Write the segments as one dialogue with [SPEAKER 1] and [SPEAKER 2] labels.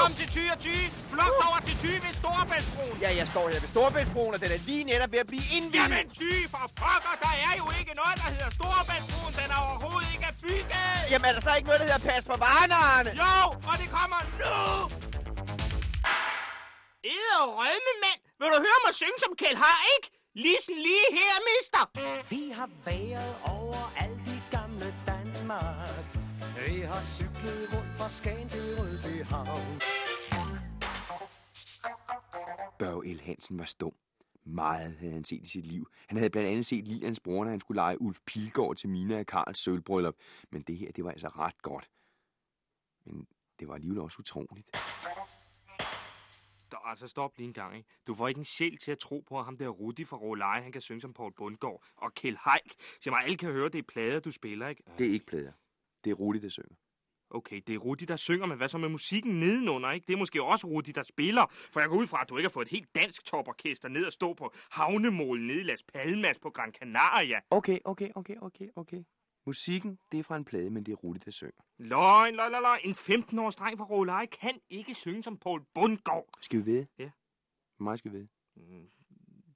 [SPEAKER 1] Kom til Thy og Thy. Flux over til Thy ved Storebæltsbroen.
[SPEAKER 2] Ja, jeg står her ved Storebæltsbroen, og den er lige netop ved at blive indviet.
[SPEAKER 1] Jamen Thy, for pokker, der er jo ikke noget, der hedder Storebæltsbroen. Den er overhovedet ikke af bygget.
[SPEAKER 2] Jamen, er der så ikke noget, der hedder pas på varerne, Arne?
[SPEAKER 1] Jo, og det kommer nu! Ede og rømme, mand. Vil du høre mig synge som Kjeld har, ikke? Listen lige her, mister.
[SPEAKER 3] Vi har været over alt i gamle Danmark. Vi har cyklet rundt fra Skagen til Rødby Havn.
[SPEAKER 2] Børge L. Hansen var stum. Meget havde han set i sit liv. Han havde blandt andet set Lilians bror, når han skulle lege Ulf Pilgaard til Mina og Karls sølvbryllup. Men det her, det var altså ret godt. Men det var alligevel også utroligt.
[SPEAKER 1] Stop, altså stop lige en gang, ikke? Du får ikke en sjæl til at tro på, at ham der Rudi fra Råleje, han kan synge som Paul Bundgaard og Kjeld Haik. Sig mig, alle kan høre, det er plader, du spiller, ikke?
[SPEAKER 2] Det er ikke plader. Det er Rudi, der synger.
[SPEAKER 1] Okay, det er Rudi, der synger, men hvad så med musikken nedenunder, ikke? Det er måske også Rudi, der spiller, for jeg går ud fra, at du ikke har fået et helt dansk toporkester ned og stå på havnemålen nede i Las Palmas på Gran Canaria.
[SPEAKER 2] Okay, okay, okay, okay, okay. Musikken, det er fra en plade, men det er Rudi, der synger.
[SPEAKER 1] Løgn, løgn, løgn, løgn. En 15-årig dreng fra Råleje kan ikke synge som Paul Bundgaard.
[SPEAKER 2] Skal vi ved?
[SPEAKER 1] Ja.
[SPEAKER 2] Hvor meget skal vi ved?
[SPEAKER 1] Mm,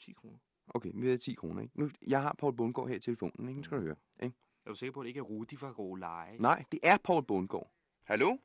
[SPEAKER 1] 10 kroner.
[SPEAKER 2] Okay, vi ved 10 kroner, ikke? Nu, jeg har Paul Bundgaard her i telefonen, ikke? Nu skal du høre, ikke?
[SPEAKER 1] Er du sikker på, at det ikke er Rudi fra Råleje?
[SPEAKER 2] Nej, det er Paul Bundgaard. Hallo?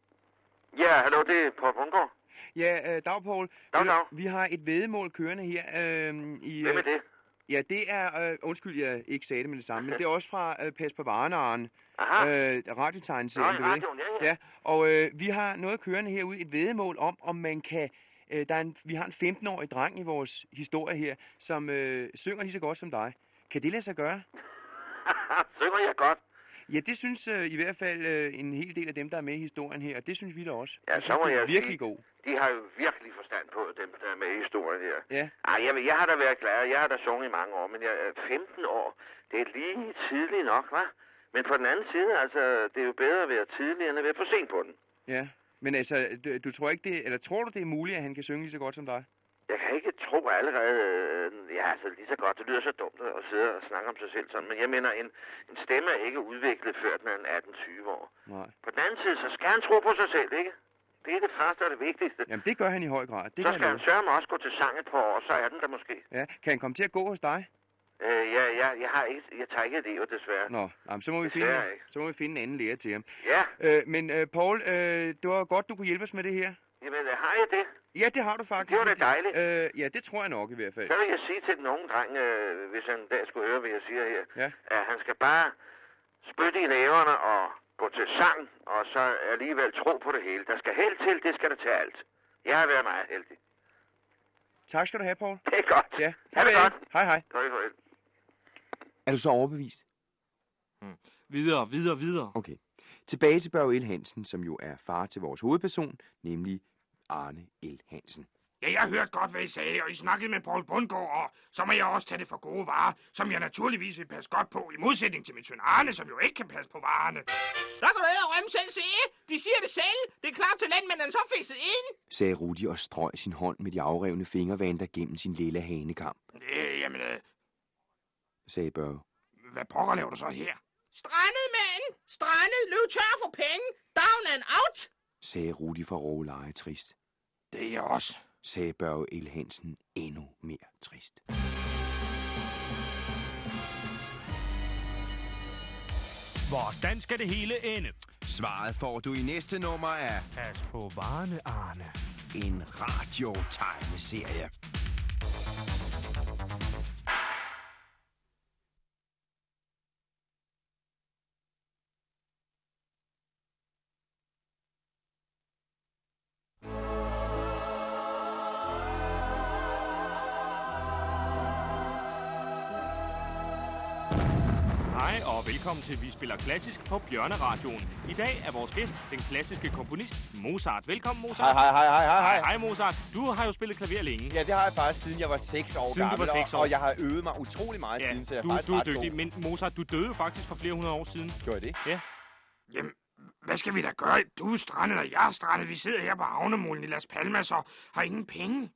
[SPEAKER 4] Ja, hallo, det er Paul Bundgaard.
[SPEAKER 2] Ja, øh, dag, Paul.
[SPEAKER 4] Dag,
[SPEAKER 2] Ved du,
[SPEAKER 4] dag.
[SPEAKER 2] Vi har et vedemål kørende her. Øh, i,
[SPEAKER 4] Hvem er
[SPEAKER 2] øh,
[SPEAKER 4] det?
[SPEAKER 2] Ja, det er... Øh, undskyld, jeg ikke sagde det med det samme, men det er også fra øh, Pas på Varenaren.
[SPEAKER 4] Aha.
[SPEAKER 2] Øh, radiotegnserien,
[SPEAKER 4] Nå,
[SPEAKER 2] du ved. ikke?
[SPEAKER 4] radioen, ja, ja.
[SPEAKER 2] ja, og øh, vi har noget kørende herude, et vedemål om, om man kan... Øh, der er en, vi har en 15-årig dreng i vores historie her, som øh, synger lige så godt som dig. Kan det lade sig gøre?
[SPEAKER 4] Synger jeg godt?
[SPEAKER 2] Ja, det synes øh, i hvert fald øh, en hel del af dem, der er med i historien her, og det synes vi da også.
[SPEAKER 4] Ja,
[SPEAKER 2] Vi
[SPEAKER 4] så
[SPEAKER 2] synes,
[SPEAKER 4] må
[SPEAKER 2] du er
[SPEAKER 4] jeg
[SPEAKER 2] virkelig
[SPEAKER 4] sige-
[SPEAKER 2] god.
[SPEAKER 4] De har jo virkelig forstand på, dem der er med i historien her.
[SPEAKER 2] Ja.
[SPEAKER 4] Ej, jamen, jeg har da været glad, jeg har da sunget i mange år, men jeg er 15 år. Det er lige tidligt nok, hva'? Men på den anden side, altså, det er jo bedre at være tidlig, end at være for sent på den.
[SPEAKER 2] Ja, men altså, du, du tror ikke det, eller tror du det er muligt, at han kan synge lige så godt som dig?
[SPEAKER 4] Jeg kan ikke tro allerede, øh, ja, altså lige så godt, det lyder så dumt at sidde og snakke om sig selv sådan, men jeg mener, en, en stemme er ikke udviklet før den er 18-20 år.
[SPEAKER 2] Nej.
[SPEAKER 4] På den anden side, så skal han tro på sig selv, ikke? Det er det første og det vigtigste.
[SPEAKER 2] Jamen, det gør han i høj grad. Det
[SPEAKER 4] så
[SPEAKER 2] kan
[SPEAKER 4] skal
[SPEAKER 2] han
[SPEAKER 4] han
[SPEAKER 2] love.
[SPEAKER 4] sørge mig også gå til sang et par år, så er den der måske.
[SPEAKER 2] Ja, kan han komme til at gå hos dig?
[SPEAKER 4] Øh, ja, ja, jeg har ikke, jeg tager ikke elever, desværre.
[SPEAKER 2] Nå, jamen, så, må vi finde,
[SPEAKER 4] Desværre ikke.
[SPEAKER 2] så må vi finde en anden lærer til ham.
[SPEAKER 4] Ja,
[SPEAKER 2] Øh, men øh, Paul, øh, det var godt, du kunne hjælpe os med det her.
[SPEAKER 4] jamen øh, har jeg det?
[SPEAKER 2] Ja, det har du faktisk.
[SPEAKER 4] Det var da dejligt.
[SPEAKER 2] Øh, ja, det tror jeg nok i hvert fald.
[SPEAKER 4] Så vil jeg sige til den unge dreng, øh, hvis han en dag skulle høre, hvad jeg siger her,
[SPEAKER 2] Ja.
[SPEAKER 4] at han skal bare spytte i næverne og gå til sang, og så alligevel tro på det hele. Der skal held til, det skal der til alt. Jeg har været meget heldig.
[SPEAKER 2] Tak skal du have, Paul.
[SPEAKER 4] Det er godt.
[SPEAKER 2] Ja,
[SPEAKER 4] Ha' det godt.
[SPEAKER 2] Hej, hej.
[SPEAKER 4] Farvel, farvel.
[SPEAKER 2] Er du så overbevist?
[SPEAKER 1] Videre, videre, videre.
[SPEAKER 2] Okay. Tilbage til Børge L. Hansen, som jo er far til vores hovedperson, nemlig Arne L. Hansen.
[SPEAKER 1] Ja, jeg hørte godt, hvad I sagde, og I snakkede med Paul Bundgaard, og så må jeg også tage det for gode varer, som jeg naturligvis vil passe godt på, i modsætning til min søn Arne, som jo ikke kan passe på varerne. Der kan du æde og rømme selv se. De siger det selv. Det er klart talent, men han så fikset ind.
[SPEAKER 2] sagde Rudi og strøg sin hånd med de afrevne fingervanter gennem sin lille hanekam,
[SPEAKER 1] Øh, jamen, øh,
[SPEAKER 2] sagde Børge.
[SPEAKER 1] hvad pokker laver du så her? Strandet, mand! Strandet! Løb tør for penge! Down and out!
[SPEAKER 2] sagde Rudi fra Råleje trist,
[SPEAKER 1] Det er jeg også.
[SPEAKER 2] sagde Børge L. Hansen endnu mere trist.
[SPEAKER 1] Hvordan skal det hele ende?
[SPEAKER 5] Svaret får du i næste nummer af
[SPEAKER 1] Pas på varerne, Arne.
[SPEAKER 5] en radiotegneserie.
[SPEAKER 1] Hej og velkommen til Vi Spiller Klassisk på Bjørneradioen. I dag er vores gæst den klassiske komponist Mozart. Velkommen,
[SPEAKER 2] Hej,
[SPEAKER 1] Mozart.
[SPEAKER 2] hej, hej, hej, hej, hej.
[SPEAKER 1] Hej, Mozart. Du har jo spillet klaver længe.
[SPEAKER 2] Ja, det har jeg faktisk siden jeg var 6 år
[SPEAKER 1] Siden du
[SPEAKER 2] gammel,
[SPEAKER 1] var seks
[SPEAKER 2] og,
[SPEAKER 1] år.
[SPEAKER 2] og jeg har øvet mig utrolig meget siden, så jeg er
[SPEAKER 1] du,
[SPEAKER 2] faktisk
[SPEAKER 1] du er
[SPEAKER 2] ret
[SPEAKER 1] dygtig,
[SPEAKER 2] god.
[SPEAKER 1] men Mozart, du døde jo faktisk for flere hundrede år siden.
[SPEAKER 2] Gjorde jeg det?
[SPEAKER 1] Jamen, hvad skal vi da gøre? Du er strandet, og jeg er strandet. Vi sidder her på havnemolen i Las Palmas og har ingen penge.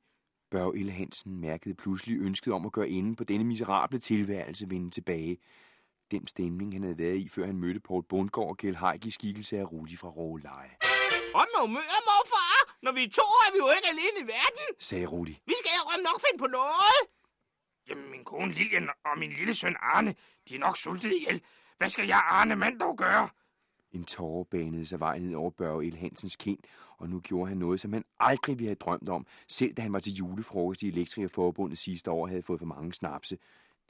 [SPEAKER 2] Børge L. Hansen mærkede pludselig ønsket om at gøre enden på denne miserable tilværelse vende tilbage. Den stemning, han havde været i, før han mødte Poul Bundgaard og Kjell Haik i skikkelse af Rudi fra Råleje.
[SPEAKER 1] Om med humør, morfar. Når vi er to, er vi jo ikke alene i verden.
[SPEAKER 2] sagde Rudi.
[SPEAKER 1] Vi skal om nok finde på noget. Jamen, min kone Lilian og min lille søn Arne, de er nok sultede ihjel. Hvad skal jeg, Arne mand, dog gøre?
[SPEAKER 2] En tårer banede sig vej ned over Børge El Hansens kind, og nu gjorde han noget, som han aldrig ville have drømt om, selv da han var til julefrokost i Elektrikerforbundet sidste år og havde fået for mange snapse.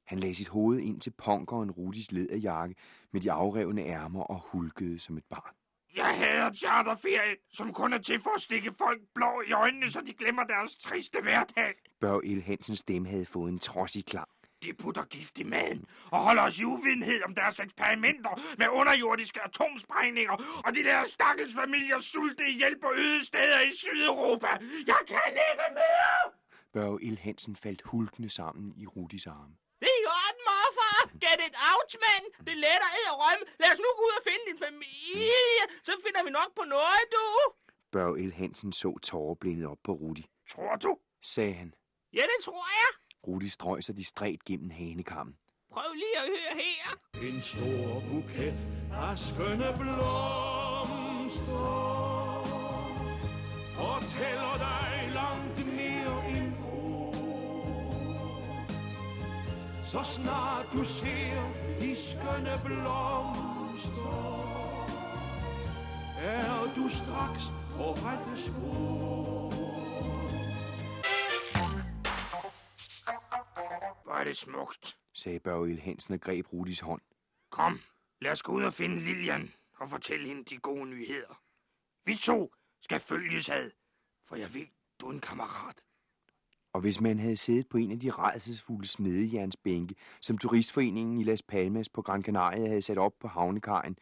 [SPEAKER 2] Han lagde sit hoved ind til punkeren Rudis læderjakke med de afrevne ærmer og hulkede som et barn.
[SPEAKER 1] Jeg hader charterferie, som kun er til for at stikke folk blå i øjnene, så de glemmer deres triste hverdag.
[SPEAKER 2] Børge El Hansens stemme havde fået en trodsig klang.
[SPEAKER 1] De putter gift i maden og holder os i uvidenhed om deres eksperimenter med underjordiske atomsprængninger, og de lader stakkels familier sulte ihjel på øde steder i Sydeuropa. Jeg kan ikke mere!
[SPEAKER 2] Børge El Hansen faldt hulkende sammen i Rudis arme.
[SPEAKER 1] Det er i orden, morfar. Get it out, mand. Det er let at æde rømme. Lad os nu gå ud og finde din familie. Så finder vi nok på noget, du.
[SPEAKER 2] Børge El Hansen så tårerblindet op på Rudi.
[SPEAKER 1] Tror du?
[SPEAKER 2] Sagde han.
[SPEAKER 1] Ja, det tror jeg.
[SPEAKER 2] Rudi strøg sig distræt gennem hanekammen.
[SPEAKER 1] Prøv lige at høre her.
[SPEAKER 6] En stor buket af skønne blomster Fortæller dig langt mere end ord Så snart du ser de skønne blomster Er du straks på rette spor
[SPEAKER 1] Hvor er det smukt.
[SPEAKER 2] sagde Børge El Hansen og greb Rudis hånd.
[SPEAKER 1] Kom, lad os gå ud og finde Lilian og fortælle hende de gode nyheder. Vi to skal følges ad, for jeg ved, du er en kammerat.
[SPEAKER 2] Og hvis man havde siddet på en af de redselsfulde smedejernsbænke, som turistforeningen i Las Palmas på Gran Canaria havde sat op på havnekajen,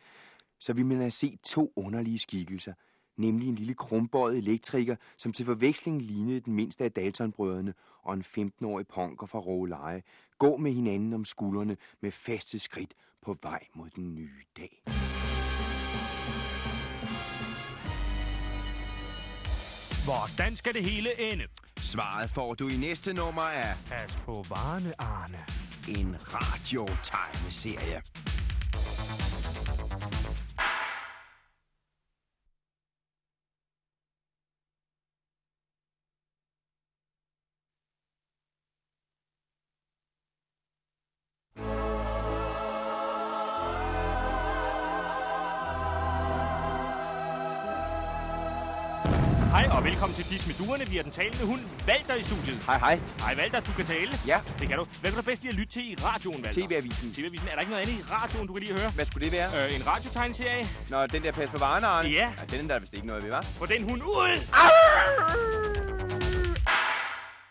[SPEAKER 2] så ville man have set to underlige skikkelser, nemlig en lille krumbøjet elektriker, som til forveksling lignede den mindste af Daltonbrødrene, og en 15-årig punker fra Råleje, gå med hinanden om skuldrene med faste skridt på vej mod den nye dag.
[SPEAKER 7] Hvordan skal det hele ende?
[SPEAKER 5] Svaret får du i næste nummer af
[SPEAKER 7] Pas på varerne, Arne.
[SPEAKER 5] en radiotegneserie.
[SPEAKER 7] Hej og velkommen til Dis med duerne. Vi er den talende hund, Valter i studiet.
[SPEAKER 2] Hej hej,
[SPEAKER 7] Hej Valter, du kan tale.
[SPEAKER 2] ja,
[SPEAKER 7] Det kan du. Hvad kan du bedst lide at lytte til i radioen, Valter?
[SPEAKER 2] TV-avisen.
[SPEAKER 7] TV-avisen. Er der ikke noget andet i radioen, du kan lide at høre?
[SPEAKER 2] Hvad skulle det være?
[SPEAKER 7] Øh, en radiotegneserie.
[SPEAKER 2] Nå, den der pas på varerne, Arne?
[SPEAKER 7] Ja.
[SPEAKER 2] ja den er der vist ikke noget ved, var.
[SPEAKER 7] Få den hund ud!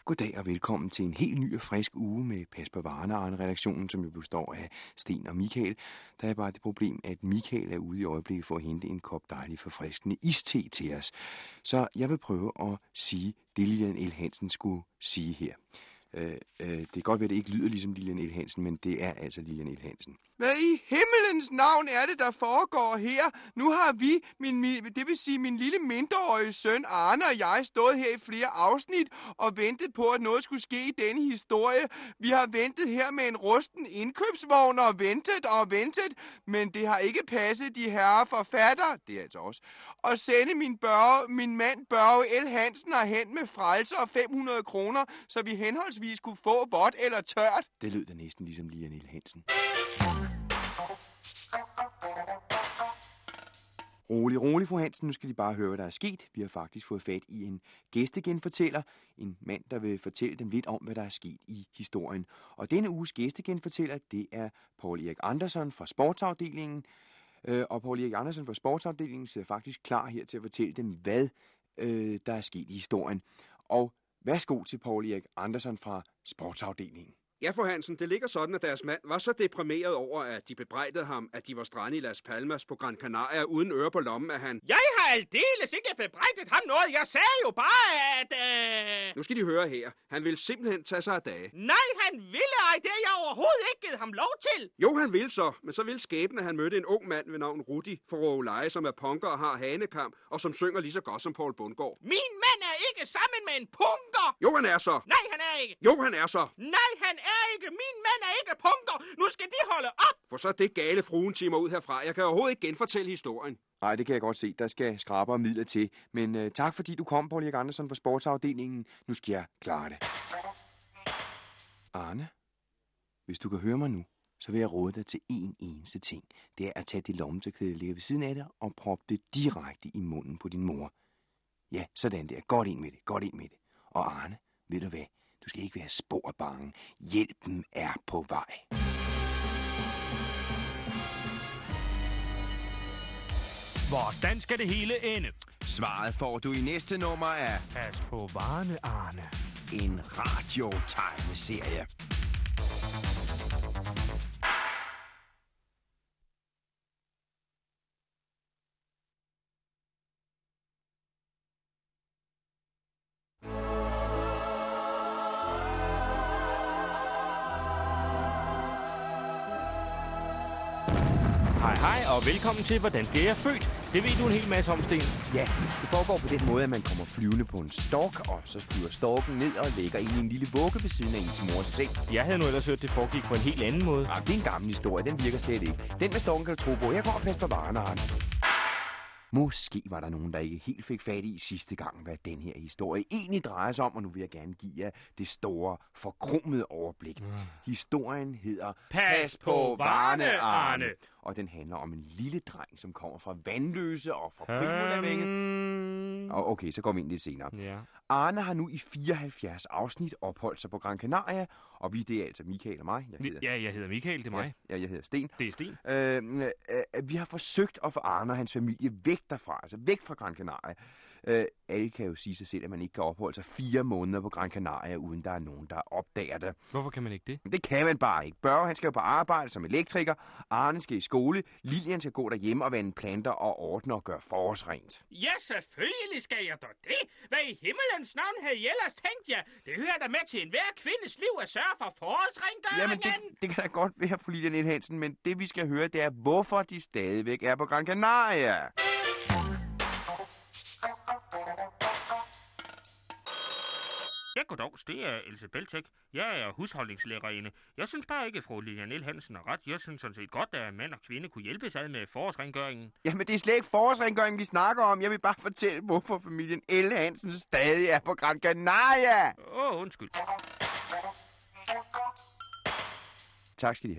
[SPEAKER 2] Goddag og velkommen til en helt ny og frisk uge med Pas på Varne Arne redaktionen, som jo består af Sten og Michael. Der er bare det problem, at Michael er ude i øjeblikket for at hente en kop dejlig forfriskende iste til os. Så jeg vil prøve at sige det, Lilian L. Hansen skulle sige her. Øh, øh, det kan godt være, at det ikke lyder ligesom Lilian L. Hansen, men det er altså Lilian L. Hansen.
[SPEAKER 8] Hvad i himmelens navn er det, der foregår her? Nu har vi, min, mi- det vil sige min lille mindreårige søn Arne og jeg, stået her i flere afsnit og ventet på, at noget skulle ske i denne historie. Vi har ventet her med en rusten indkøbsvogn og ventet og ventet, men det har ikke passet de herrer forfatter, det er altså os, at sende min, børge, min mand Børge L. Hansen og hen med frelser og 500 kroner, så vi henholdsvis kunne få vådt eller tørt.
[SPEAKER 2] Det lød da næsten ligesom Lilian L. Hansen. Rolig, rolig, fru Hansen. Nu skal de bare høre, hvad der er sket. Vi har faktisk fået fat i en gæstegenfortæller. En mand, der vil fortælle dem lidt om, hvad der er sket i historien. Og denne uges gæstegenfortæller, det er Paul Erik Andersen fra sportsafdelingen. Øh, Og Paul Erik Andersen fra sportsafdelingen sidder faktisk klar her til at fortælle dem, hvad øh, der er sket i historien. Og værsgo til Paul Erik Andersen fra sportsafdelingen.
[SPEAKER 9] Ja, fru Hansen, det ligger sådan, at deres mand var så deprimeret over, at de bebrejdede ham, at de var strandet i Las Palmas på Gran Canaria uden øre på lommen, at han...
[SPEAKER 1] Jeg har aldeles ikke bebrejdet ham noget. Jeg sagde jo bare, at... Øh...
[SPEAKER 9] Nu skal de høre her. Han ville simpelthen tage sig af dage.
[SPEAKER 1] Nej, han ville ej. Det har jeg overhovedet ikke givet ham lov til.
[SPEAKER 9] Jo, han ville så, men så ville skæbnen, at han mødte en ung mand ved navn Rudi fra Råleje, som er punker og har hanekamp, og som synger lige så godt som Paul Bundgaard.
[SPEAKER 1] Min mand er ikke sammen med en punker.
[SPEAKER 9] Jo, han er så.
[SPEAKER 1] Nej, han er ikke.
[SPEAKER 9] Jo, han er så.
[SPEAKER 1] Nej, han er ikke, min mand er ikke punker. Nu skal de holde op.
[SPEAKER 9] For så det gale fruen timer ud herfra. Jeg kan overhovedet ikke genfortælle historien.
[SPEAKER 2] Nej, det kan jeg godt se. Der skal skraber og midler til. Men øh, tak fordi du kom, Paul Erik Andersen fra sportsafdelingen. Nu skal jeg klare det. Arne, hvis du kan høre mig nu, så vil jeg råde dig til én eneste ting. Det er at tage det lommetørklæde, der ligger ved siden af dig, og proppe det direkte i munden på din mor. Ja, sådan der. Godt ind med det. Godt ind med det. Og Arne, ved du hvad? Du skal ikke være spor bange. Hjælpen er på vej.
[SPEAKER 7] Hvordan skal det hele ende?
[SPEAKER 5] Svaret får du i næste nummer af
[SPEAKER 7] Pas på varerne, Arne.
[SPEAKER 5] en radiotegneserie.
[SPEAKER 7] Hej hej, og velkommen til Hvordan bliver jeg født? Det ved du en hel masse om, Sten.
[SPEAKER 2] Ja, det foregår på den måde, at man kommer flyvende på en stork, og så flyver storken ned og ligger ind i en lille vugge ved siden af ens mors seng.
[SPEAKER 7] Jeg havde nu ellers hørt, at det foregik på en helt anden måde.
[SPEAKER 2] Ah, det er en gammel historie, den virker slet ikke. Den med storken kan du tro på. Jeg går og passer på varerne, Arne. Måske var der nogen, der ikke helt fik fat i sidste gang, hvad den her historie egentlig drejer sig om, og nu vil jeg gerne give jer det store, forkrummede overblik. Historien hedder
[SPEAKER 7] Pas på varerne, Arne.
[SPEAKER 2] Og den handler om en lille dreng, som kommer fra Vandløse og fra Primulavinget.
[SPEAKER 7] Øhm,
[SPEAKER 2] Og okay, så går vi ind lidt senere.
[SPEAKER 7] Ja.
[SPEAKER 2] Arne har nu i 74 afsnit opholdt sig på Gran Canaria, og vi, det er altså Michael og mig. Jeg
[SPEAKER 7] Vi-
[SPEAKER 2] hedder,
[SPEAKER 7] Ja, jeg hedder Michael, det er mig.
[SPEAKER 2] ja, jeg hedder Sten.
[SPEAKER 7] Det er Sten.
[SPEAKER 2] Øh, øh, øh, vi har forsøgt at få Arne og hans familie væk derfra, altså væk fra Gran Canaria. Øh, alle kan jo sige sig selv, at man ikke kan opholde sig fire måneder på Gran Canaria, uden der er nogen, der opdager det.
[SPEAKER 7] Hvorfor kan man ikke det?
[SPEAKER 2] Men det kan man bare ikke. Børge, han skal jo på arbejde som elektriker, Arne skal i skole, Lilian skal gå derhjemme og vande planter og ordne og gøre forårsrent.
[SPEAKER 1] Ja, selvfølgelig skal jeg da det. Hvad i himmelens navn havde I ellers tænkt jer? Det hører da med til enhver kvindes liv at sørge for forårsrengøringen.
[SPEAKER 2] Jamen, det, det kan da godt være, fru Lilian Hansen, men det vi skal høre, det er, hvorfor de stadigvæk er på Gran Canaria.
[SPEAKER 10] Ja, goddags. Det er Else Beltek. Jeg er husholdningslærerinde. Jeg synes bare ikke, at fru Lilian Niel Hansen har ret. Jeg synes sådan set godt, at mand og kvinde kunne hjælpes ad med forårsrengøringen.
[SPEAKER 2] Jamen, det er slet ikke forårsrengøring, vi snakker om. Jeg vil bare fortælle, hvorfor familien L. Hansen stadig er på Gran Canaria.
[SPEAKER 10] Åh, oh, undskyld.
[SPEAKER 2] Tak skal de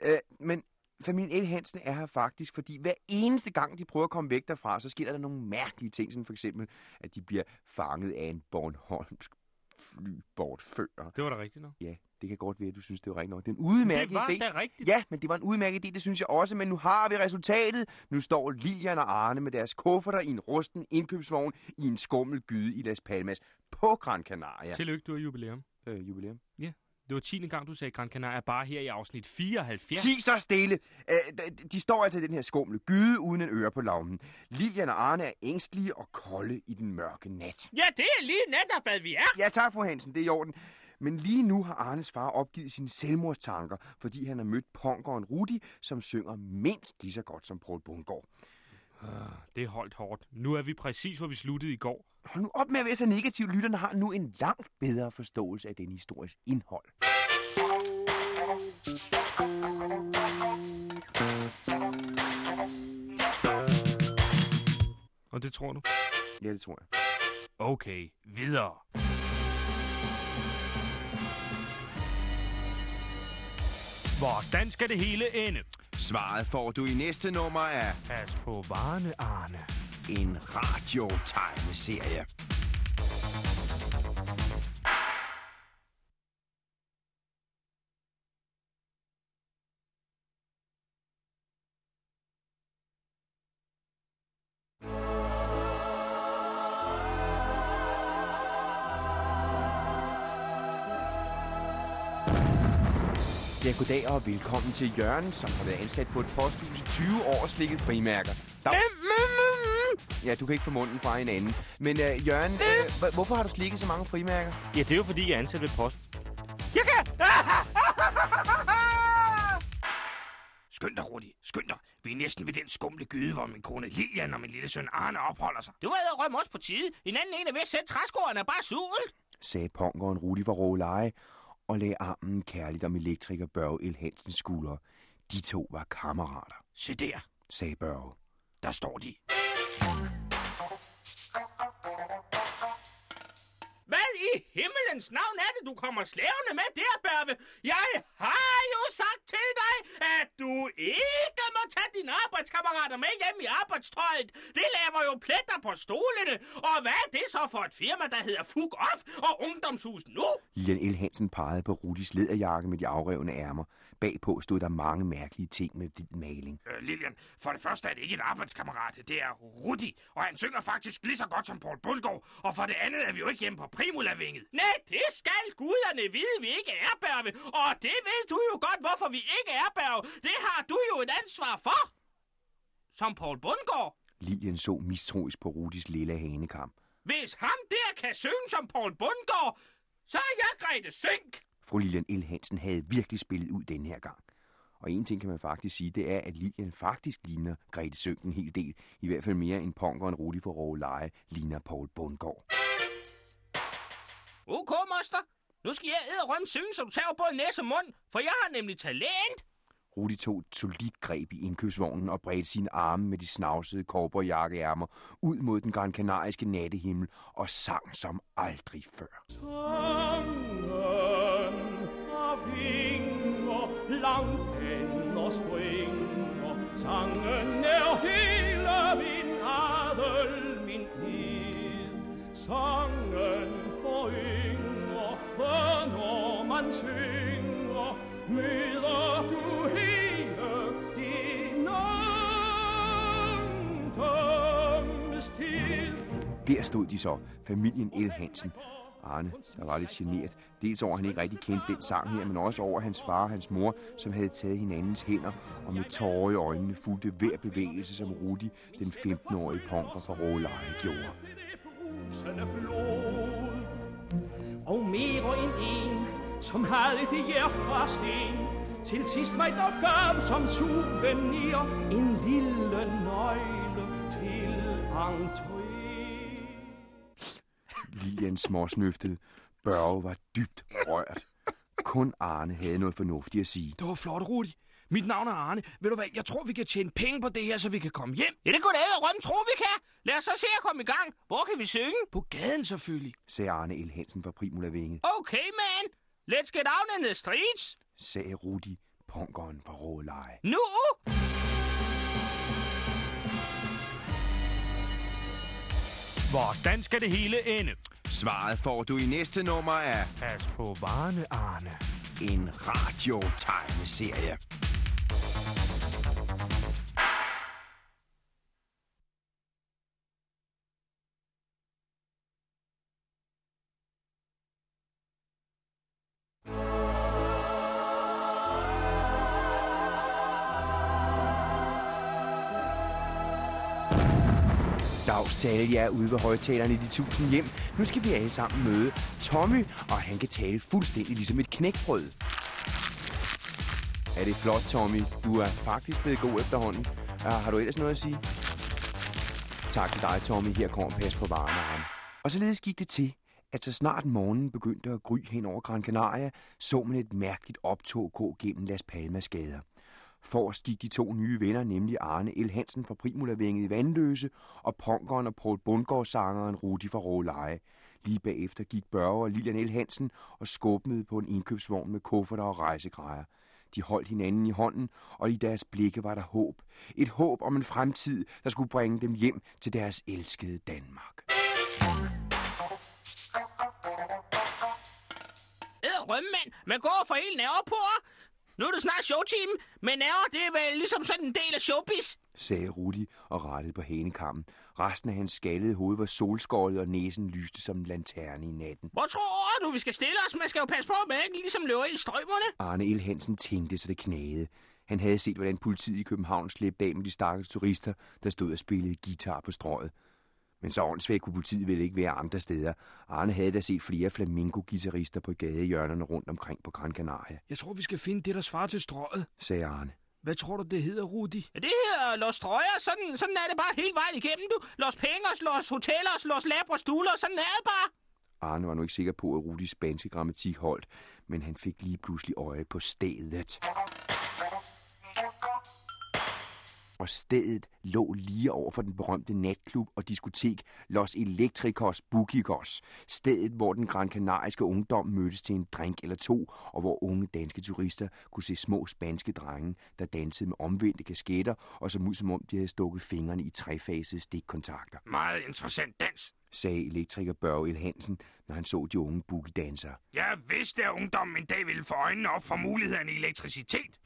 [SPEAKER 2] have. Øh, men familien L. Hansen er her faktisk, fordi hver eneste gang, de prøver at komme væk derfra, så sker der nogle mærkelige ting, som for eksempel, at de bliver fanget af en Bornholmsk flybortfører.
[SPEAKER 7] Det var da rigtigt nok.
[SPEAKER 2] Ja, det kan godt være, at du synes, det var rigtigt nok. Det er en udmærket
[SPEAKER 7] Det var
[SPEAKER 2] idé.
[SPEAKER 7] da rigtigt.
[SPEAKER 2] Ja, men det var en udmærket idé, det synes jeg også, men nu har vi resultatet. Nu står Lilian og Arne med deres kufferter i en rusten indkøbsvogn i en skummel gyde i Las Palmas på Gran Canaria.
[SPEAKER 7] Tillykke, du har jubilæum.
[SPEAKER 2] øh, jubilæum.
[SPEAKER 7] Det var 10. gang, du sagde Gran Canaria, bare her i afsnit 74.
[SPEAKER 2] Sig så stille! Øh, d- de står altså i den her skumle gyde uden en øre på lavnen. Lilian og Arne er ængstlige og kolde i den mørke nat.
[SPEAKER 1] Ja, det er lige netop, hvad vi er.
[SPEAKER 2] Ja tak, fru Hansen, det er i orden. Men lige nu har Arnes far opgivet sine selvmordstanker, fordi han har mødt punkeren Rudi, som synger mindst lige så godt som Paul Bundgaard.
[SPEAKER 7] Det holdt hårdt. Nu er vi præcis, hvor vi sluttede i går.
[SPEAKER 2] Hold nu op med at være så negativ. Lytterne har nu en langt bedre forståelse af den histories indhold.
[SPEAKER 7] Og det tror du?
[SPEAKER 2] Ja, det tror jeg.
[SPEAKER 7] Okay, videre. Hvordan skal det hele ende?
[SPEAKER 5] Svaret får du i næste nummer af
[SPEAKER 7] Pas på varerne, Arne.
[SPEAKER 5] en radiotegneserie.
[SPEAKER 2] Ja, goddag og velkommen til Jørgen, som har været ansat på et posthus i 20 år og slikket frimærker. Dag. Ja, du kan ikke få munden fra hinanden. Men uh, Jørgen, uh, hva- hvorfor har du slikket så mange frimærker?
[SPEAKER 7] Ja, det er jo fordi, jeg er ansat ved post.
[SPEAKER 1] Skynd dig, Rudi. Skynd dig. Vi er næsten ved den skumle gyde, hvor min kone Lilian og min lille søn Arne opholder sig. Det var edderrømme også på tide. En anden en er ved at sætte træskoerne bare sult.
[SPEAKER 2] Sagde punkeren Rudi fra Råleje. og lagde armen kærligt om elektriker Børge El Hansens skuldre. De to var kammerater.
[SPEAKER 11] Se der,
[SPEAKER 2] sagde Børge.
[SPEAKER 11] der står de.
[SPEAKER 10] Hvad i himmelens navn er det, du kommer slævende med der, Børve? Jeg har jo sagt til dig, at du ikke må tage dine arbejdskammerater med hjem i arbejdstøjet. Det laver jo pletter på stolene. Og hvad er det så for et firma, der hedder Fug Off og Ungdomshus nu?
[SPEAKER 2] Lilian El Hansen pegede på Rudis læderjakke med de afrevne ærmer. Bagpå stod der mange mærkelige ting med hvid maling.
[SPEAKER 1] Øh, Lilian, for det første er det ikke en arbejdskammerat, det er Rudi, og han synger faktisk lige så godt som Paul Bundgaard, og for det andet er vi jo ikke hjemme på Primulavinget.
[SPEAKER 10] Nej, det skal guderne vide, vi ikke er, Børve. Og det ved du jo godt, hvorfor vi ikke er, Børve. Det har du jo et ansvar for. Som Paul Bundgaard.
[SPEAKER 2] Lilian så mistroisk på Rudis lille hanekam.
[SPEAKER 10] Hvis ham der kan synge som Paul Bundgaard, så er jeg Grete Sink.
[SPEAKER 2] Fru Lilian El Hansen havde virkelig spillet ud den her gang. Og en ting kan man faktisk sige, det er, at Lilian faktisk ligner Grete Sønk en hel del. I hvert fald mere end Ponker og Rudi for Rove Leje ligner Paul Bundgaard.
[SPEAKER 10] OK, moster. Nu skal jeg æderrømme synge, så du tager både næse og mund, for jeg har nemlig talent.
[SPEAKER 2] Rudi tog et solidt greb i indkøbsvognen og bredte sine arme med de snavsede korporjakkeærmer ud mod den grankanariske nattehimmel og sang som aldrig før.
[SPEAKER 6] Tangen av vinger, langt hen og springer. Sangen er hele min adel, min tid. Sangen forynger, for når man synger, møder du hele din ungdomstid.
[SPEAKER 2] Der stod de så, familien El Hansen. Arne, der var lidt generet, dels over, at han ikke rigtig kendte den sang her, men også over hans far og hans mor, som havde taget hinandens hænder og med tårer i øjnene fulgte hver bevægelse, som Rudi, den 15-årige punker fra Råleje, gjorde.
[SPEAKER 6] brusende blod. Og mere end en, som havde det hjerte af sten, til sidst mig dog gav som souvenir en lille nøgle til entré.
[SPEAKER 2] Lilian småsnøftede. Børge var dybt rørt. Kun Arne havde noget fornuftigt at sige.
[SPEAKER 11] Det var flot, Rudi. Mit navn er Arne. Ved du hvad, jeg tror, vi kan tjene penge på det her, så vi kan komme hjem.
[SPEAKER 10] Ja, det kunne da æderrømme tro, vi kan. Lad os så se at komme i gang. Hvor kan vi synge?
[SPEAKER 11] På gaden selvfølgelig.
[SPEAKER 2] sagde Arne El Hansen fra Primulavinget,
[SPEAKER 10] Okay, man. Let's get out in the streets.
[SPEAKER 2] sagde Rudi, punkeren fra Råleje.
[SPEAKER 10] Nu!
[SPEAKER 7] Hvordan skal det hele ende?
[SPEAKER 5] Svaret får du i næste nummer af
[SPEAKER 7] Pas på varerne, Arne.
[SPEAKER 5] en radiotegneserie.
[SPEAKER 2] Dags til alle jer ude ved højtalerne i de tusind hjem. Nu skal vi alle sammen møde Tommy, og han kan tale fuldstændig ligesom et knækbrød. Er det flot, Tommy? Du er faktisk blevet god efterhånden. Uh, har du ellers noget at sige? Tak til dig, Tommy. Her kommer pas på varme ham. Og således gik det til, at så snart morgenen begyndte at gry hen over Gran Canaria, så man et mærkeligt optog gå gennem Las Palmas gader. Forrest gik de to nye venner, nemlig Arne El Hansen fra Primulavinget i Vandløse, og punkeren og Paul Bundgaard-sangeren Rudi fra Råleje. Lige bagefter gik Børge og Lilian El Hansen og skubbede på en indkøbsvogn med kufferter og rejsegrejer. De holdt hinanden i hånden, og i deres blikke var der håb. Et håb om en fremtid, der skulle bringe dem hjem til deres elskede Danmark.
[SPEAKER 10] Æderrømme, mand. Man går for hele nerver på. Nu er det snart showtime, men nerver, det er vel ligesom sådan en del af showbiz.
[SPEAKER 2] sagde Rudi og rettede på hanekammen. Resten af hans skaldede hoved var solskåret, og næsen lyste som en lanterne i natten.
[SPEAKER 10] Hvor tror du, vi skal stille os? Man skal jo passe på, at man ikke ligesom løber ind i strømmerne.
[SPEAKER 2] Arne El Hansen tænkte, så det knagede. Han havde set, hvordan politiet i København slæbte af med de stakkels turister, der stod og spillede guitar på strøget. Men så åndssvagt kunne politiet vel ikke være andre steder. Arne havde da set flere flamingo guitarister på gadehjørnerne rundt omkring på Gran Canaria,
[SPEAKER 11] Jeg tror, vi skal finde det, der svarer til strøget.
[SPEAKER 2] sagde Arne.
[SPEAKER 11] Hvad tror du, det hedder, Rudi?
[SPEAKER 10] Ja, det hedder Los Trøjer. Sådan, sådan er det bare hele vejen igennem, du. Los Pengers, Los Hotellers, Los Labros Duler. Sådan er det bare.
[SPEAKER 2] Arne var nu ikke sikker på, at Rudis spanske grammatik holdt, men han fik lige pludselig øje på stedet. Og stedet lå lige over for den berømte natklub og diskotek Los Electricos Bukikos. Stedet, hvor den grandkanariske ungdom mødtes til en drink eller to, og hvor unge danske turister kunne se små spanske drenge, der dansede med omvendte kasketter, og som ud som om de havde stukket fingrene i trefasede stikkontakter
[SPEAKER 1] Meget interessant dans.
[SPEAKER 2] sagde elektriker Børge El Hansen, når han så de unge bukidansere.
[SPEAKER 1] Jeg vidste, at ungdommen en dag ville få øjnene op for mulighederne i elektricitet.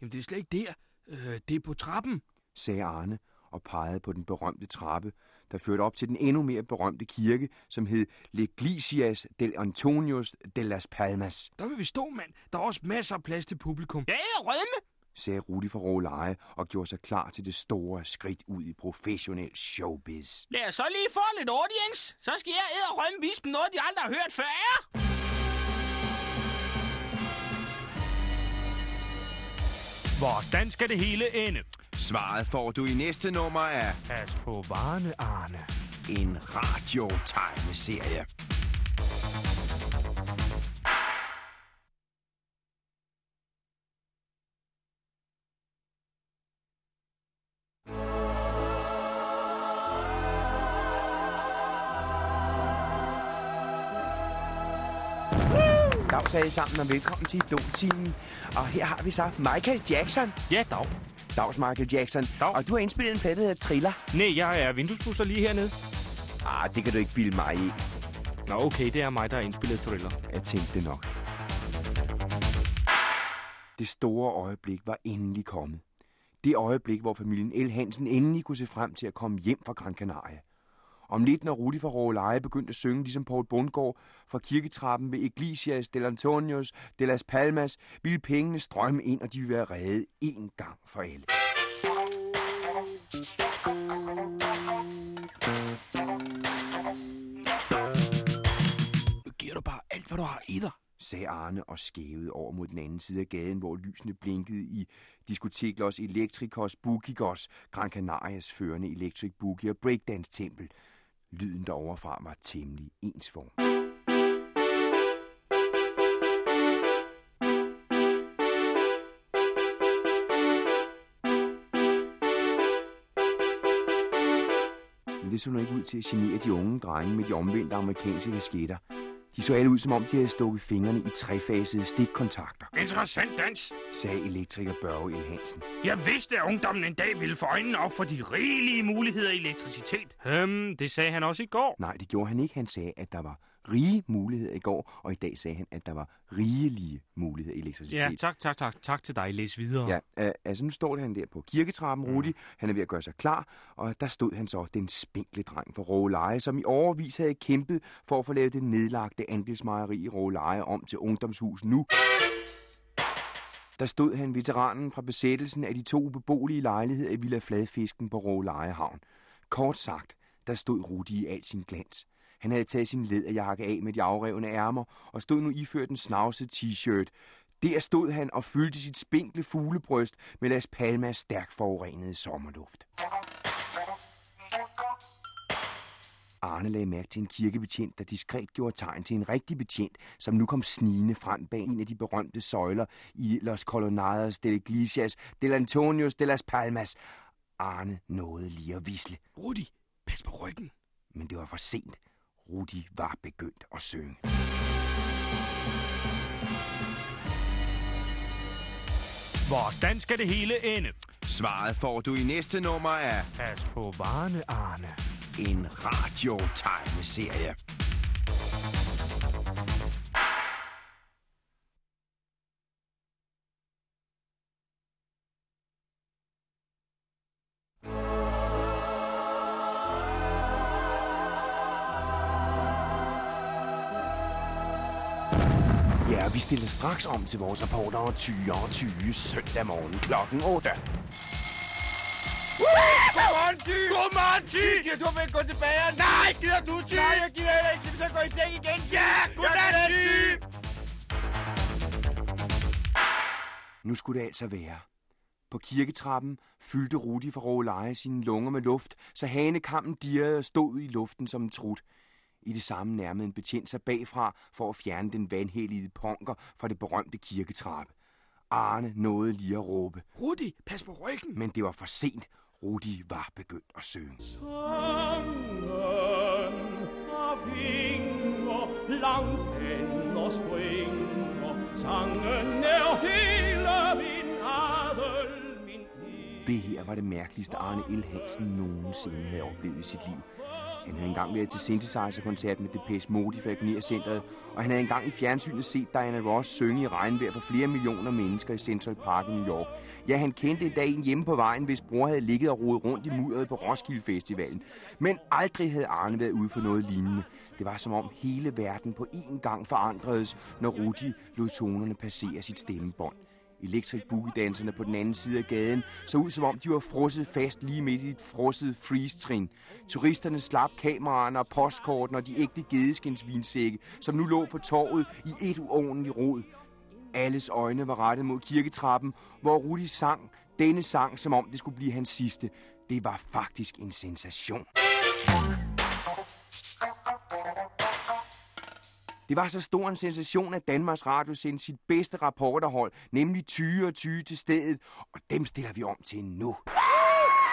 [SPEAKER 11] Jamen, det er slet ikke der. Øh, det er på trappen.
[SPEAKER 2] sagde Arne og pegede på den berømte trappe, der førte op til den endnu mere berømte kirke, som hed L'Eglisias del Antonios de las Palmas,
[SPEAKER 11] Der vil vi stå, mand. Der er også masser af plads til publikum. Ja, rødme!
[SPEAKER 2] sagde Rudi fra Råleje og gjorde sig klar til det store skridt ud i professionel showbiz.
[SPEAKER 10] Lad os så lige få lidt audience. Så skal jeg æde og rømme vise dem noget, de aldrig har hørt før.
[SPEAKER 7] Hvordan skal det hele ende?
[SPEAKER 5] Svaret får du i næste nummer af...
[SPEAKER 7] Pas på varerne, Arne.
[SPEAKER 5] En radiotegneserie.
[SPEAKER 2] Dags alle sammen, og velkommen til Idol-timen. Og her har vi så Michael Jackson.
[SPEAKER 7] Ja, dag.
[SPEAKER 2] Dags Michael Jackson. Dag. Og du har indspillet en plade, der hedder Triller.
[SPEAKER 7] Nej, jeg er vinduesbusser lige hernede.
[SPEAKER 2] Ah, det kan du ikke bilde mig i.
[SPEAKER 7] Nå, okay, det er mig, der har indspillet Thriller.
[SPEAKER 2] Jeg tænkte det nok. Det store øjeblik var endelig kommet. Det øjeblik, hvor familien L. Hansen endelig kunne se frem til at komme hjem fra Gran Canaria. Om lidt, når Rudi fra Råleje begyndte at synge ligesom Paul Bundgaard fra kirketrappen ved Iglesias del Antonios de las Palmas, ville pengene strømme ind, og de ville være reddet én gang for alle.
[SPEAKER 11] Nu giver du bare alt, hvad du har i dig.
[SPEAKER 2] sagde Arne og skævede over mod den anden side af gaden, hvor lysene blinkede i diskotek Los Electricos Bukikos, Gran Canarias førende Electric Boogie og Breakdance Tempel. Lyden deroverfra var temmelig ensform. Men det så nu ikke ud til at genere de unge drenge med de omvendte amerikanske kasketter. De så alle ud, som om de havde stukket fingrene i trefasede stikkontakter,
[SPEAKER 1] Interessant dans.
[SPEAKER 2] sagde elektriker Børge El Hansen.
[SPEAKER 1] Jeg vidste, at ungdommen en dag ville få øjnene op for de rigelige muligheder i elektricitet.
[SPEAKER 7] Øhm, det sagde han også i går.
[SPEAKER 2] Nej, det gjorde han ikke. Han sagde, at der var rige muligheder i går, og i dag sagde han, at der var rigelige muligheder i
[SPEAKER 7] Ja,
[SPEAKER 2] elektricitet.
[SPEAKER 7] tak, tak, tak. Tak til dig. Læs videre.
[SPEAKER 2] Ja, øh, altså nu står han der på kirketrappen,
[SPEAKER 7] Mm.
[SPEAKER 2] Rudi. Han er ved at gøre sig klar, og der stod han så, den spinkle dreng fra Råleje, som i overvis havde kæmpet for at få lavet det nedlagte andelsmejeri i Råleje om til ungdomshus nu. Der stod han, veteranen fra besættelsen af de to beboelige lejligheder i Villa Fladfisken på Råleje Havn. Kort sagt, der stod Rudi i al sin glans. Han havde taget sin læderjakke af med de afrevne ærmer og stod nu iført en snavset t-shirt. Der stod han og fyldte sit spinkle fuglebryst med Las Palmas stærkt forurenede sommerluft. Arne lagde mærke til en kirkebetjent, der diskret gjorde tegn til en rigtig betjent, som nu kom snigende frem bag en af de berømte søjler i Los Colonados de Iglesias del Antonios de las Palmas. Arne nåede lige at visle.
[SPEAKER 11] Rudi, pas på ryggen.
[SPEAKER 2] Men det var for sent. Rudi var begyndt at synge.
[SPEAKER 7] Hvordan skal det hele ende?
[SPEAKER 5] Svaret får du i næste nummer af...
[SPEAKER 7] Pas på varerne, Arne.
[SPEAKER 5] En radiotegneserie.
[SPEAKER 2] Ja, og vi stiller straks om til vores rapporter 20.20 søndag morgen klokken 8.
[SPEAKER 3] Godmorgen, Ty! Godmorgen, Ty! Gider du med gå til bageren? Nej, gider du, Ty! Nej, jeg gider heller ikke, så vi så går i seng igen, Ty! Ja, godnat, Ty!
[SPEAKER 2] Nu skulle det altså være. På kirketrappen fyldte Rudi fra Råleje sine lunger med luft, så hanekammen dirrede og stod i luften som en trut. I det samme nærmede en betjent sig bagfra for at fjerne den vandhellige ponker fra det berømte kirketrappe. Arne nåede lige at råbe,
[SPEAKER 11] Rudi, pas på ryggen.
[SPEAKER 2] men det var for sent. Rudi var begyndt at synge.
[SPEAKER 6] Sangen af vinger, langt hen og springer. Sangen er hele min adel.
[SPEAKER 2] Det her var det mærkeligste Arne El Hansen nogensinde havde oplevet i sit liv. Han havde engang været til synthesizer-koncert med Depeche Mode i Falconer-centret, og han havde engang i fjernsynet set Diana Ross synge i regnvejr for flere millioner mennesker i Central Park i New York. Ja, han kendte en dag en hjemme på vejen, hvis bror havde ligget og rodet rundt i mudderet på Roskilde Festivalen. Men aldrig havde Arne været ude for noget lignende. Det var som om hele verden på én gang forandredes, når Rudi lod tonerne passere sit stemmebånd. Electric Boogie-danserne på den anden side af gaden så ud som om de var frosset fast lige midt i et frosset freeze-trin. Turisterne slap kameraerne og postkorten og de ægte gedeskindsvinsække, som nu lå på torvet i et uordentligt rod. Alles øjne var rettet mod kirketrappen, hvor Rudi sang denne sang, som om det skulle blive hans sidste. Det var faktisk en sensation. Det var så stor en sensation, at Danmarks Radio sendte sit bedste rapporterhold, nemlig 20 og 20 til stedet, og dem stiller vi om til nu.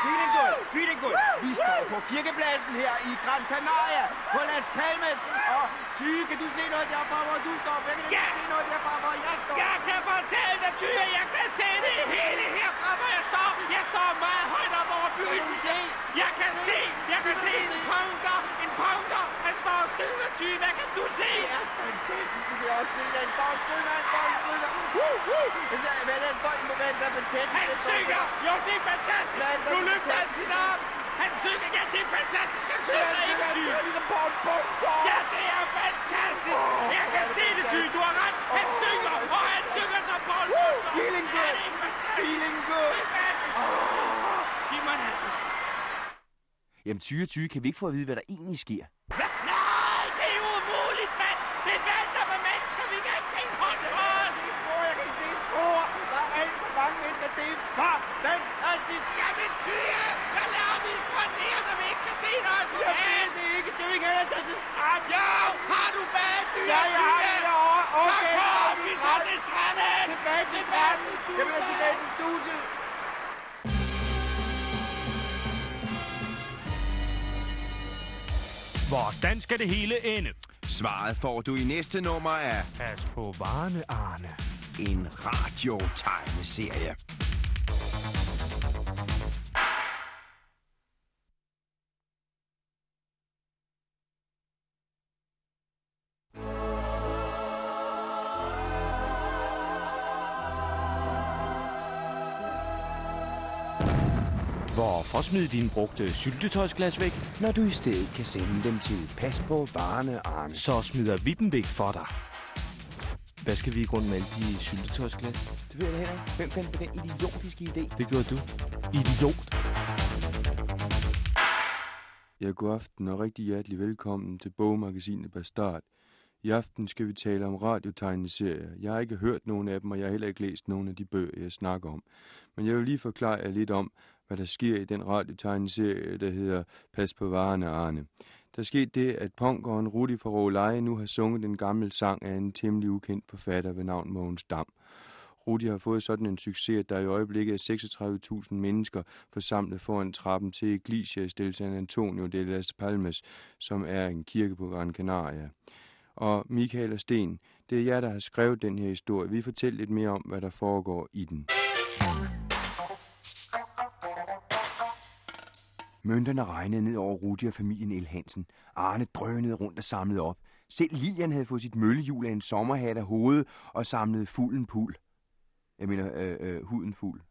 [SPEAKER 12] Feeling good, feeling good. Vi står på kirkepladsen her i Gran Canaria på Las Palmas. Og Tyge, kan du se noget derfra, hvor du står? Hvem kan ja. se noget derfra, hvor jeg står?
[SPEAKER 10] Jeg kan fortælle dig, Tyre, jeg kan se det hele herfra, hvor jeg står. Jeg står meget højt op over byen. Kan du se? Jeg kan se, jeg kan se en punker, en punker. Han står og synger, Tyre, hvad kan du se?
[SPEAKER 12] Det er fantastisk, du kan jeg også se det. Han står og synger, han står og synger. Woo, woo. Altså, men han står i moment, der er fantastisk.
[SPEAKER 10] Han
[SPEAKER 12] står og
[SPEAKER 10] synger, jo, det er fantastisk.
[SPEAKER 12] Hvad er det, der
[SPEAKER 10] Nu
[SPEAKER 12] er
[SPEAKER 10] løfter han
[SPEAKER 12] fantastisk?
[SPEAKER 10] sin arm. Han synger, ja, det er fantastisk. Han
[SPEAKER 12] Det er,
[SPEAKER 10] synger
[SPEAKER 12] han
[SPEAKER 10] ikke,
[SPEAKER 12] synger, han
[SPEAKER 10] Tyre.
[SPEAKER 12] synger ligesom Paul Bunker.
[SPEAKER 10] Ja, det er fantastisk.
[SPEAKER 12] Åh,
[SPEAKER 10] Jeg
[SPEAKER 12] hvor
[SPEAKER 10] kan
[SPEAKER 12] er det
[SPEAKER 10] se det, Tyre,
[SPEAKER 12] fantastisk.
[SPEAKER 10] du har ret. Han
[SPEAKER 12] Åh,
[SPEAKER 10] synger,
[SPEAKER 12] hvor er det
[SPEAKER 10] og han synger som Paul
[SPEAKER 12] Woo,
[SPEAKER 10] Bunker.
[SPEAKER 12] feeling
[SPEAKER 10] Ja,
[SPEAKER 12] good.
[SPEAKER 10] det er fantastisk.
[SPEAKER 12] Feeling good.
[SPEAKER 10] Det er fantastisk. Giv mig en halsmaske.
[SPEAKER 2] Jamen 20 og 20 kan vi ikke få at vide, hvad der egentlig sker.
[SPEAKER 10] Nej, det er umuligt, mand! Det vælter med mennesker, vi kan ikke se en hånd på os!
[SPEAKER 12] Jeg kan ikke se spor. Der er alt for mange mennesker. Det er for fantastisk.
[SPEAKER 10] Jamen, Tyre, hvad laver vi i Grønland, når vi ikke kan se dig som
[SPEAKER 12] Jeg ved det ikke. Skal vi ikke have tage til stranden?
[SPEAKER 10] Jo, har du badedyr,
[SPEAKER 12] Ja, jeg har det derovre. Okay,
[SPEAKER 10] Så
[SPEAKER 12] jeg har
[SPEAKER 10] kom,
[SPEAKER 12] det
[SPEAKER 10] vi
[SPEAKER 12] til
[SPEAKER 10] tager
[SPEAKER 12] stranden.
[SPEAKER 10] til stranden!
[SPEAKER 12] Tilbage til stranden. Jeg vil tilbage til studiet.
[SPEAKER 7] Hvordan skal det hele ende?
[SPEAKER 5] Svaret får du i næste nummer af...
[SPEAKER 7] Pas på varerne, Arne.
[SPEAKER 5] En radiotegneserie.
[SPEAKER 7] Hvorfor smide dine brugte syltetøjsglas væk?
[SPEAKER 2] Når du i stedet kan sende dem til Pas på varerne, Arne.
[SPEAKER 7] Så smider vi dem væk for dig. Hvad skal vi i grund med alle de syltetøjsglas?
[SPEAKER 2] Det ved jeg da heller ikke. Hvem fandt på den idiotiske idé?
[SPEAKER 7] Det gjorde du. Idiot.
[SPEAKER 13] Ja, god aften og rigtig hjertelig velkommen til bogmagasinet Bastard. I aften skal vi tale om radiotegneserier. Jeg har ikke hørt nogen af dem, og jeg har heller ikke læst nogen af de bøger, jeg snakker om. Men jeg vil lige forklare jer lidt om, hvad der sker i den radiotegneserie, der hedder Pas på varerne, Arne. Der skete det, at punkeren Rudi fra Råleje nu har sunget den gamle sang af en temmelig ukendt forfatter ved navn Mogens Dam. Rudi har fået sådan en succes, at der i øjeblikket er 36.000 mennesker forsamlet foran trappen til Iglesias del San Antonio de Las Palmas, som er en kirke på Gran Canaria. Og Michael og Sten, det er jer, der har skrevet den her historie. Vi fortæller lidt mere om, hvad der foregår i den.
[SPEAKER 2] Mønterne regnede ned over Rudi og familien El Hansen. Arne drønede rundt og samlede op. Selv Lilian havde fået sit møllehjul af en sommerhat af hovedet og samlede fulden pul. Jeg mener, øh, øh, huden fuld.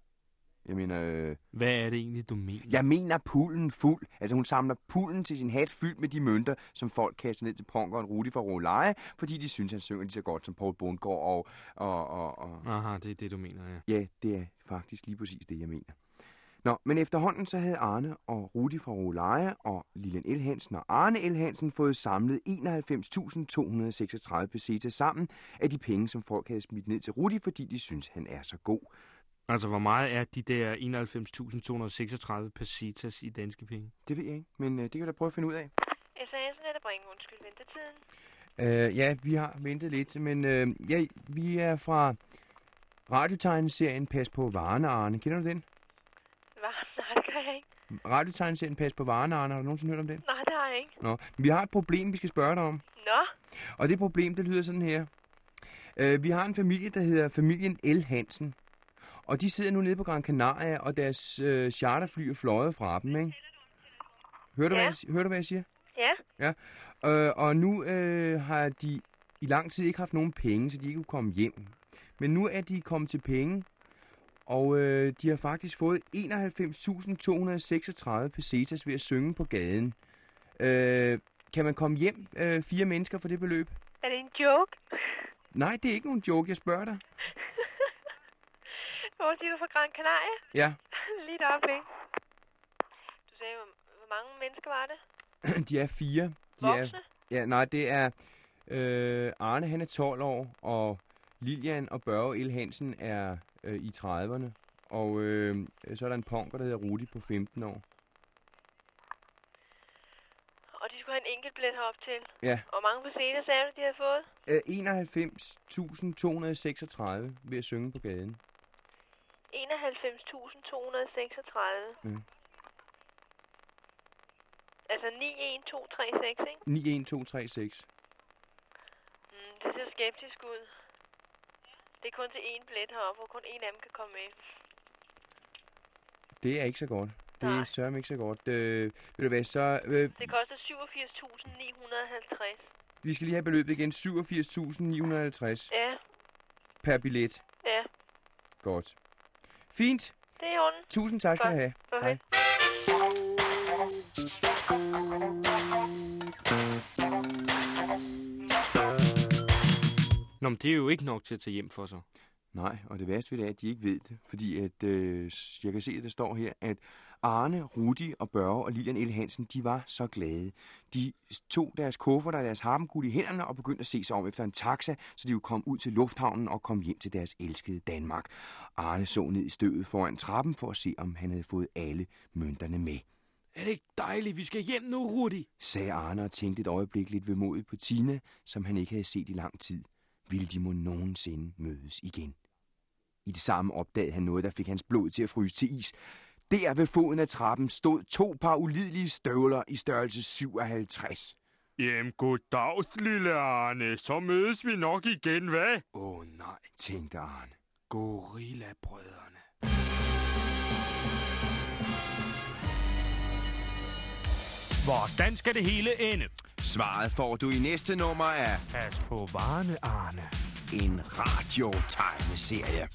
[SPEAKER 2] Jeg mener, øh,
[SPEAKER 7] Hvad er det egentlig, du mener?
[SPEAKER 2] jeg mener pullen fuld. Altså hun samler pullen til sin hat fyldt med de mønter, som folk kaster ned til punkeren Rudi fra Roleje, fordi de synes, han synger lige så godt som Paul Bundgaard og, og, og, og,
[SPEAKER 7] Aha, det er det, du mener, ja.
[SPEAKER 2] Ja, det er faktisk lige præcis det, jeg mener. Nå, men efterhånden så havde Arne og Rudi fra Roleje og Lilian L. Hansen og Arne L. Hansen fået samlet 91.236 pesetas sammen af de penge, som folk havde smidt ned til Rudi, fordi de synes han er så god.
[SPEAKER 7] Altså, hvor meget er de der 91.236 pesetas i danske penge?
[SPEAKER 2] Det ved jeg ikke, men øh, det kan jeg da prøve at finde ud af.
[SPEAKER 14] SAS'en er der bringe, undskyld ventetiden.
[SPEAKER 2] Øh, ja, vi har ventet lidt, men øh, ja, vi er fra radiotegneserien Pas på varerne, Arne. Kender du den?
[SPEAKER 14] Hvad? Nej, det gør jeg ikke.
[SPEAKER 2] Radiotegneserien Pas på varerne, Arne. Har du nogensinde hørt om den?
[SPEAKER 14] Nej, det har jeg ikke.
[SPEAKER 2] Nå, vi har et problem, vi skal spørge dig om.
[SPEAKER 14] Nå,
[SPEAKER 2] Og det problem, det lyder sådan her. Øh, vi har en familie, der hedder familien L. Hansen. Og de sidder nu nede på Gran Canaria, og deres øh, charterfly er fløjet fra dem, ikke? Hører du, ja.
[SPEAKER 14] Ja.
[SPEAKER 2] hvad, jeg, si- hører du hvad jeg siger?
[SPEAKER 14] ja.
[SPEAKER 2] Ja. Øh, og nu øh, har de i lang tid ikke haft nogen penge, så de ikke kunne komme hjem. Men nu er de kommet til penge, og øh, de har faktisk fået 91.236 pesetas ved at synge på gaden. Øh, kan man komme hjem, øh, fire mennesker, for det beløb?
[SPEAKER 14] Er det en joke?
[SPEAKER 2] Nej, det er ikke nogen joke, jeg spørger dig.
[SPEAKER 14] Hvor siger du fra Gran Canaria?
[SPEAKER 2] Ja,
[SPEAKER 14] Lige deroppe, ikke? Du sagde, hvor, hvor mange mennesker var det?
[SPEAKER 2] de er fire. De
[SPEAKER 14] Voksne?
[SPEAKER 2] Er, ja, nej, det er øh, Arne, han er 12 år, og Lilian og Børge El Hansen er øh, i 30'erne. Og øh, så er der en punker, der hedder Rudi på 15 år.
[SPEAKER 14] Og de skulle have en enkelt billet herop til.
[SPEAKER 2] Ja.
[SPEAKER 14] Og hvor mange pesetas sagde du, de havde fået?
[SPEAKER 2] Øh, 91.236 ved at synge på gaden.
[SPEAKER 14] 91.236.
[SPEAKER 2] Ja.
[SPEAKER 14] Altså 91236, ikke?
[SPEAKER 2] 91236.
[SPEAKER 14] Mm, det ser skeptisk ud. Det er kun til én billet heroppe, hvor kun én af dem kan komme med.
[SPEAKER 2] Det er ikke så godt. Det er sørme ikke så godt. Øh, ved du hvad, så... Øh,
[SPEAKER 14] Det koster 87.950.
[SPEAKER 2] vi skal lige have beløbet igen. 87.950
[SPEAKER 14] Ja,
[SPEAKER 2] per billet.
[SPEAKER 14] ja.
[SPEAKER 2] Godt. Fint.
[SPEAKER 14] Det er i orden.
[SPEAKER 2] Tusind tak skal du
[SPEAKER 14] Godt.
[SPEAKER 2] have.
[SPEAKER 14] Okay.
[SPEAKER 2] Hej.
[SPEAKER 7] Nå, men det er jo ikke nok til at tage hjem for sig.
[SPEAKER 2] Nej, og det værste ved det er, at de ikke ved det, fordi at, øh, s- jeg kan se, at der står her, at Arne, Rudi og Børge og Lilian L. Hansen, de var så glade. De s- tog deres kufferter og deres harmguld i hænderne og begyndte at se sig om efter en taxa, så de kunne komme ud til lufthavnen og komme hjem til deres elskede Danmark. Arne så ned i støvet foran trappen for at se, om han havde fået alle mønterne med
[SPEAKER 11] Er det ikke dejligt? Vi skal hjem nu, Rudi.
[SPEAKER 2] sagde Arne og tænkte et øjeblik lidt vemodigt på Tina, som han ikke havde set i lang tid. Ville de må nogensinde mødes igen? I det samme opdagede han noget, der fik hans blod til at fryse til is. Der ved foden af trappen stod to par ulidelige støvler i størrelse 57.
[SPEAKER 15] Jamen, goddags, lille Arne. Så mødes vi nok igen, hvad?
[SPEAKER 2] Åh oh, nej, tænkte Arne.
[SPEAKER 11] Gorilla-brødrene.
[SPEAKER 7] Hvordan skal det hele ende?
[SPEAKER 5] Svaret får du i næste nummer af
[SPEAKER 7] Pas på varerne, Arne.
[SPEAKER 5] En radiotegneserie.